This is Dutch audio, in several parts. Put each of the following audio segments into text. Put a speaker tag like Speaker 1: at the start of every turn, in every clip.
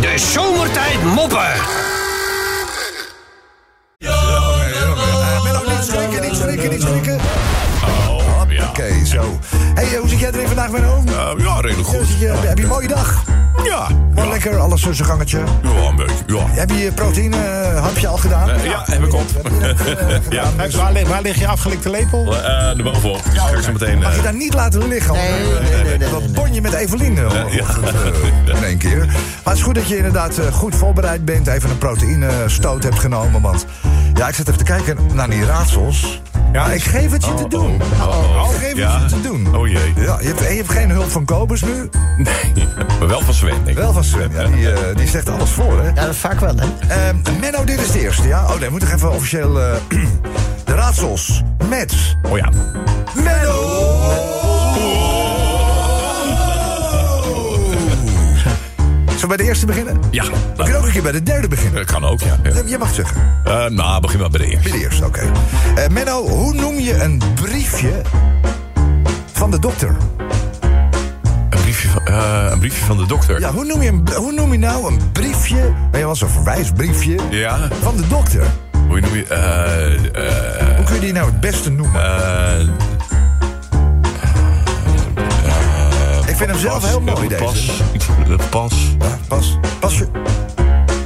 Speaker 1: De zomertijd moppen.
Speaker 2: Eh, Menno, niet schrikken, niet schrikken, niet schrikken.
Speaker 3: Oh, ja.
Speaker 2: Oké, zo. Hey, eh, hoe zit jij erin vandaag, Menno?
Speaker 3: Eh, ja, redelijk
Speaker 2: Hoe
Speaker 3: goed.
Speaker 2: zit je- Heb je een mooie dag?
Speaker 3: Ja.
Speaker 2: Maar
Speaker 3: Ja,
Speaker 2: lekker, alles tussen gangetje.
Speaker 3: ja, een beetje. Ja.
Speaker 2: Heb je je proteïne eh, hapje al gedaan?
Speaker 3: Eh, ja, heb ik op.
Speaker 2: Heb je dat, eh, gedaan?
Speaker 3: Ja.
Speaker 2: Dus
Speaker 4: Waar, li- waar ligt je afgelikte lepel?
Speaker 3: Eh, de bovenop. Dus ga ik zo meteen.
Speaker 2: Mag je
Speaker 3: eh,
Speaker 2: daar niet laten liggen? want
Speaker 5: Nee,
Speaker 2: dan,
Speaker 5: nee,
Speaker 2: eh,
Speaker 5: nee, nee, nee,
Speaker 2: Dat
Speaker 5: nee.
Speaker 2: bon je met Evelien eh, vanochtend, eh, in één keer. Maar het is goed dat je inderdaad eh, goed voorbereid bent. Even een proteïne-stoot hebt genomen. Want ja, ik zit even te kijken naar die raadsels. Ja, ik geef het je te doen. Ik oh, geef
Speaker 3: Oh, Ja.
Speaker 2: het je te doen.
Speaker 3: Oh jee.
Speaker 2: Ja, je hebt, en je hebt geen hulp van Kobus nu.
Speaker 3: Nee, maar wel van Sven, denk ik.
Speaker 2: Wel van Sven, ja, die, eh, die zegt alles voor, hè?
Speaker 5: Ja, vaak wel, hè?
Speaker 2: Ehm, Menno, dit is de eerste, ja? Oh nee, we moeten toch even officieel... eh, de raadsels met...
Speaker 3: Oh ja.
Speaker 2: Menno! Zullen we bij de eerste beginnen?
Speaker 3: Ja.
Speaker 2: We
Speaker 3: Nou,
Speaker 2: kunnen ook een keer bij de derde beginnen.
Speaker 3: eh, kan ook, ja. ja.
Speaker 2: Je mag het zeggen.
Speaker 3: Eh, nou, begin maar bij de
Speaker 2: Bij
Speaker 3: eerste.
Speaker 2: de eerste, oké. Eh, Menno, hoe noem je een briefje van de dokter?
Speaker 3: Een briefje van, eh, een briefje van de dokter.
Speaker 2: Ja, hoe noem je, een, hoe noem je nou een briefje... Weet je wel, zo'n verwijsbriefje
Speaker 3: Ja.
Speaker 2: van de dokter?
Speaker 3: Hoe noem je... eh, eh,
Speaker 2: Hoe kun je die nou het beste noemen?
Speaker 3: eh,
Speaker 2: Ik vind hem zelf heel mooi,
Speaker 3: eh,
Speaker 2: deze.
Speaker 3: Pas. Eh, Pas.
Speaker 2: Ja, pas. Pasje.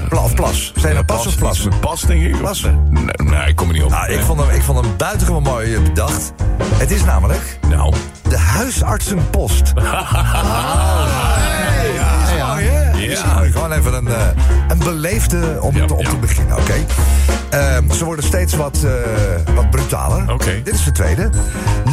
Speaker 2: Pla, of plas. Zijn er pas of plas?
Speaker 3: Iets met Pas, denk ik.
Speaker 2: Pas.
Speaker 3: Nee, nee, ik kom er niet op.
Speaker 2: Nou, ik vond, hem, ik vond hem buitengewoon mooi eh, bedacht. Het is namelijk
Speaker 3: Nou.
Speaker 2: de huisartsenpost. Oh, ja, ja. Mooi, hè? Die is
Speaker 3: Ja.
Speaker 2: mooi. Gewoon even een, eh, een beleefde om,
Speaker 3: Ja,
Speaker 2: te, om
Speaker 3: ja.
Speaker 2: te beginnen, oké? Ehm, ze worden steeds wat, eh, wat brutaler.
Speaker 3: Oké.
Speaker 2: Dit is de tweede.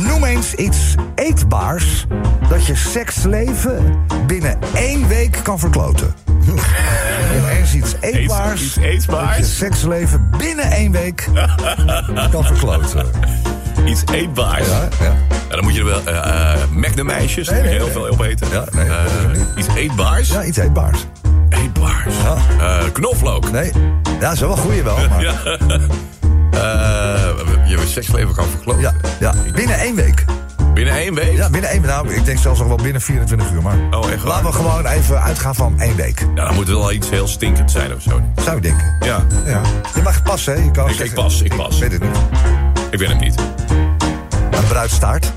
Speaker 2: Noem eens iets eetbaars dat je seksleven binnen één week kan verkloten. Hm. Noem eens iets eetbaars,
Speaker 3: iets eetbaars?
Speaker 2: dat je seksleven binnen één week kan verkloten.
Speaker 3: Iets eetbaars.
Speaker 2: Ja,
Speaker 3: Ja.
Speaker 2: ja.
Speaker 3: dan moet je er wel... eh eh Magnum meisjes.
Speaker 2: Nee, nee,
Speaker 3: heel
Speaker 2: nee.
Speaker 3: veel opeten.
Speaker 2: Ja, nee,
Speaker 3: Eh,
Speaker 2: dat is ook niet.
Speaker 3: iets eetbaars.
Speaker 2: ja, iets eetbaars.
Speaker 3: Eetbaars. Eh, knoflook.
Speaker 2: Nee, ja, is wel een goeie wel, maar...
Speaker 3: Ja. Eh, je seksleven kan verkloten.
Speaker 2: Ja, ja, binnen één week.
Speaker 3: Binnen één week?
Speaker 2: Ja, binnen één Nou, ik denk zelfs nog wel binnen 24 uur, maar...
Speaker 3: Oh, echt waar?
Speaker 2: Laten we gewoon even uitgaan van één week.
Speaker 3: Ja, dan moet het wel iets heel stinkend zijn of zo.
Speaker 2: Zou ik denken.
Speaker 3: Ja,
Speaker 2: Ja. Je mag passen, hè? Je kan ook
Speaker 3: Ik- ik
Speaker 2: zeggen-
Speaker 3: pas, ik pas.
Speaker 2: weet het niet.
Speaker 3: ik ben hem niet.
Speaker 2: Een bruidstaart.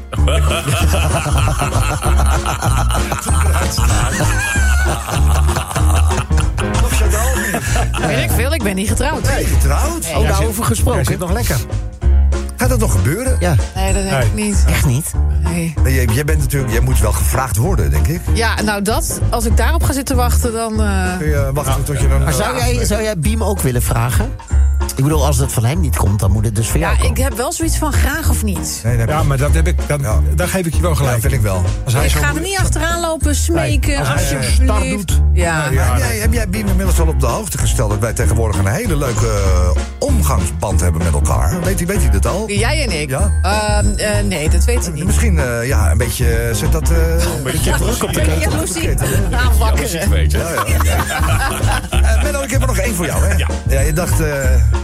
Speaker 2: Of zo wel of niet?
Speaker 6: Weet ik veel, ik ben niet getrouwd.
Speaker 2: Ben je getrouwd? nou,
Speaker 5: Oh, daarover
Speaker 4: Hij
Speaker 5: gesproken.
Speaker 4: zit nog lekker.
Speaker 2: Gaat dat nog gebeuren?
Speaker 5: Ja,
Speaker 6: Nee, dat denk
Speaker 4: Nee.
Speaker 6: ik niet.
Speaker 5: echt niet.
Speaker 6: Nee.
Speaker 2: Jij, jij bent natuurlijk, jij moet wel gevraagd worden, denk ik.
Speaker 6: Ja, nou dat, als ik daarop ga zitten wachten, dan... eh,
Speaker 2: Kun je wachten tot je dan...
Speaker 5: Maar zou jij, zou jij Beam ook willen vragen? Ik bedoel, als het van hem niet komt, dan moet het dus van jou
Speaker 6: Ja, ik
Speaker 5: komen.
Speaker 6: heb wel zoiets van graag of niet.
Speaker 2: Nee, nee,
Speaker 4: Ja, maar dat heb ik, dan,
Speaker 2: Ja.
Speaker 4: daar geef ik je wel
Speaker 2: ja,
Speaker 4: gelijk.
Speaker 2: vind ik wel.
Speaker 4: Als hij
Speaker 6: Ik
Speaker 4: zo
Speaker 6: ga er niet achteraan lopen, smeken,
Speaker 4: als hij zo'n
Speaker 6: alsjeblieft.
Speaker 4: start doet.
Speaker 6: Ja.
Speaker 2: Heb jij, heb jij Biem inmiddels al op de hoogte gesteld dat wij tegenwoordig een hele leuke eh, omgangsband hebben met elkaar? Weet hij, weet hij dat al?
Speaker 6: Jij en ik?
Speaker 2: Ja.
Speaker 6: Ehm, eh, nee, dat weet ik niet.
Speaker 2: Misschien eh, ja, een beetje. eh, Zet dat. eh
Speaker 3: Beetje druk op de
Speaker 6: Ja, Lucie, Nou, aanwakkeren.
Speaker 3: weet je.
Speaker 2: eh, Menno, ik heb er nog één voor jou, hè?
Speaker 3: Ja.
Speaker 2: je dacht. eh,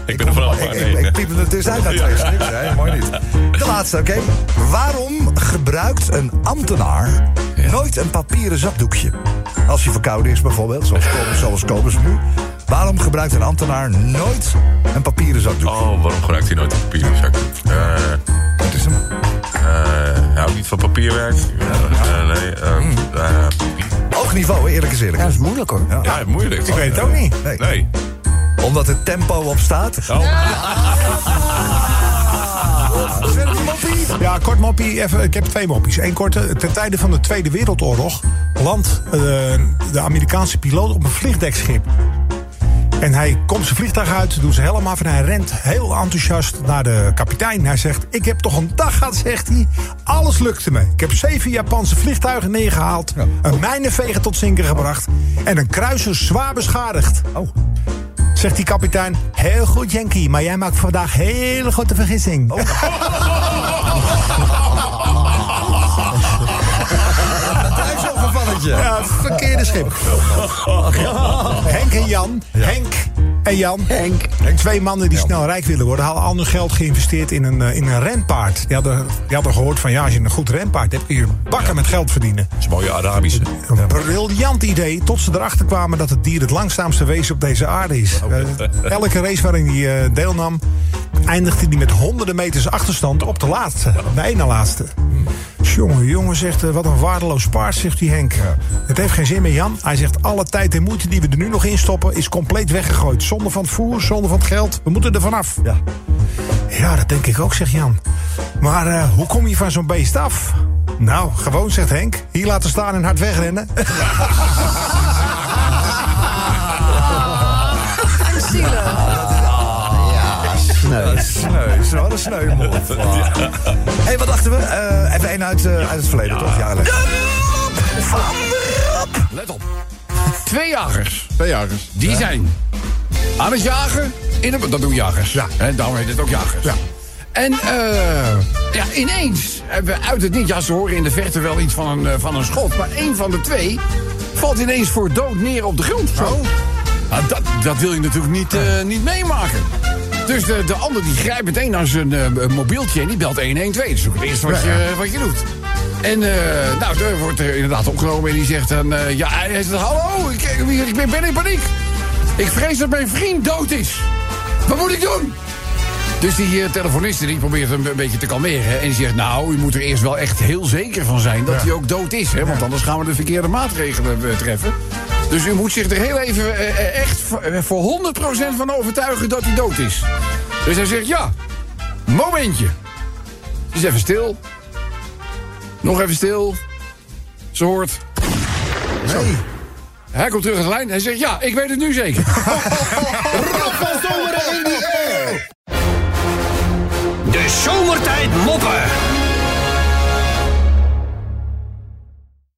Speaker 3: Ik ben er vanaf.
Speaker 2: ik,
Speaker 3: maar
Speaker 2: ik,
Speaker 3: nee.
Speaker 2: ik piep het dus uit naar twee slips, hè? Mooi niet. De laatste, oké. Waarom gebruikt een ambtenaar nooit een papieren zakdoekje? Als hij verkouden is, bijvoorbeeld, zoals Kobus, zoals Kobus nu. Waarom gebruikt een ambtenaar nooit een papieren zakdoek?
Speaker 3: Oh, waarom gebruikt hij nooit een papieren zak? Eh,
Speaker 2: Dat is hem.
Speaker 3: eh, hij houdt niet van papierwerk. Eh, eh, nee, eh,
Speaker 2: Hmm.
Speaker 3: eh,
Speaker 2: Hoogniveau, hè, eerlijk is eerlijk.
Speaker 5: Ja, dat is moeilijk hoor.
Speaker 3: ja, moeilijk. Ik
Speaker 4: weet het ook niet.
Speaker 2: Nee.
Speaker 3: Nee.
Speaker 2: Omdat het tempo op staat.
Speaker 3: Oh,
Speaker 4: Ja, kort moppie. Even, ik heb twee moppies. Eén korte. Ten tijde van de Tweede Wereldoorlog landt eh, de Amerikaanse piloot op een vliegdekschip. En hij komt zijn vliegtuig uit, doet zijn helm af en hij rent heel enthousiast naar de kapitein. Hij zegt, ik heb toch een dag gehad, zegt hij. Alles lukte me. Ik heb zeven Japanse vliegtuigen neergehaald, een mijnenveger tot zinken gebracht en een kruiser zwaar beschadigd.
Speaker 2: Oh.
Speaker 4: Zegt die kapitein, heel goed Yankee, maar jij maakt vandaag hele grote vergissing.
Speaker 2: Hij is zo'n gevalletje.
Speaker 4: Ja, verkeerde schip. Henk en Jan. Henk En Jan,
Speaker 5: Henk.
Speaker 4: twee mannen die snel rijk willen worden... hadden al hun geld geïnvesteerd in een, eh, in een renpaard. Die hadden, die hadden gehoord van ja, als je een goed renpaard hebt... kun je bakken met geld verdienen.
Speaker 3: is een mooie Arabische.
Speaker 4: Een briljant idee, tot ze erachter kwamen dat het dier het langzaamste wezen op deze aarde is. Eh, elke race waarin hij eh, deelnam, eindigde hij met honderden meters achterstand op de laatste, de ene laatste. Jongen, jongen zegt, eh, wat een waardeloos paard, zegt die Henk. Het heeft geen zin meer, Jan. Hij zegt, alle tijd en moeite die we er nu nog in stoppen... is compleet weggegooid. Zonder van het voer, zonder van het geld. We moeten er vanaf. Ja. ja, dat denk ik ook, zegt Jan. Maar eh, hoe kom je van zo'n beest af? Nou, gewoon, zegt Henk. Hier laten staan en hard wegrennen.
Speaker 6: Zielig.
Speaker 5: Nee.
Speaker 2: Sneu, is wel een sneu mond. hey, wat dachten we? Eh, even één uit, eh, uit het verleden, toch? Ja, lekker.
Speaker 1: Let op. Twee jagers. Twee jagers. Die zijn aan het jagen. In een, dat doen jagers. Ja. daarom heet het ook jagers. Ja. En eh ja, ineens, hebben we uit het niet, ja, ze horen in de verte wel iets van een, eh, van een schot. Maar één van de twee valt ineens voor dood neer op de grond. Zo. Nou, dat, dat wil je natuurlijk niet, eh, niet meemaken. Dus de, de ander die grijpt meteen naar zijn eh, mobieltje en die belt 112. Dat is Dus ook het eerste wat, je, wat je doet. En eh, nou, er wordt eh, inderdaad opgenomen en die zegt dan... eh, ja, hij zegt, hallo, ik, ik ben- ben in paniek. Ik vrees dat mijn vriend dood is. Wat moet ik doen? Dus die eh, telefoniste die probeert hem een beetje te kalmeren. En die zegt, nou, u moet er eerst wel echt heel zeker van zijn dat hij ook dood is. Hè? Want anders gaan we de verkeerde maatregelen eh, treffen. Dus u moet zich er heel even eh, eh, echt voor, eh, voor 100% van overtuigen dat hij dood is. Dus hij zegt, ja, momentje. Dus even stil. Nog even stil. Ze hoort... Zo. Hij komt terug aan de lijn. Hij zegt, ja, ik weet het nu zeker.
Speaker 7: De zomertijd moppen.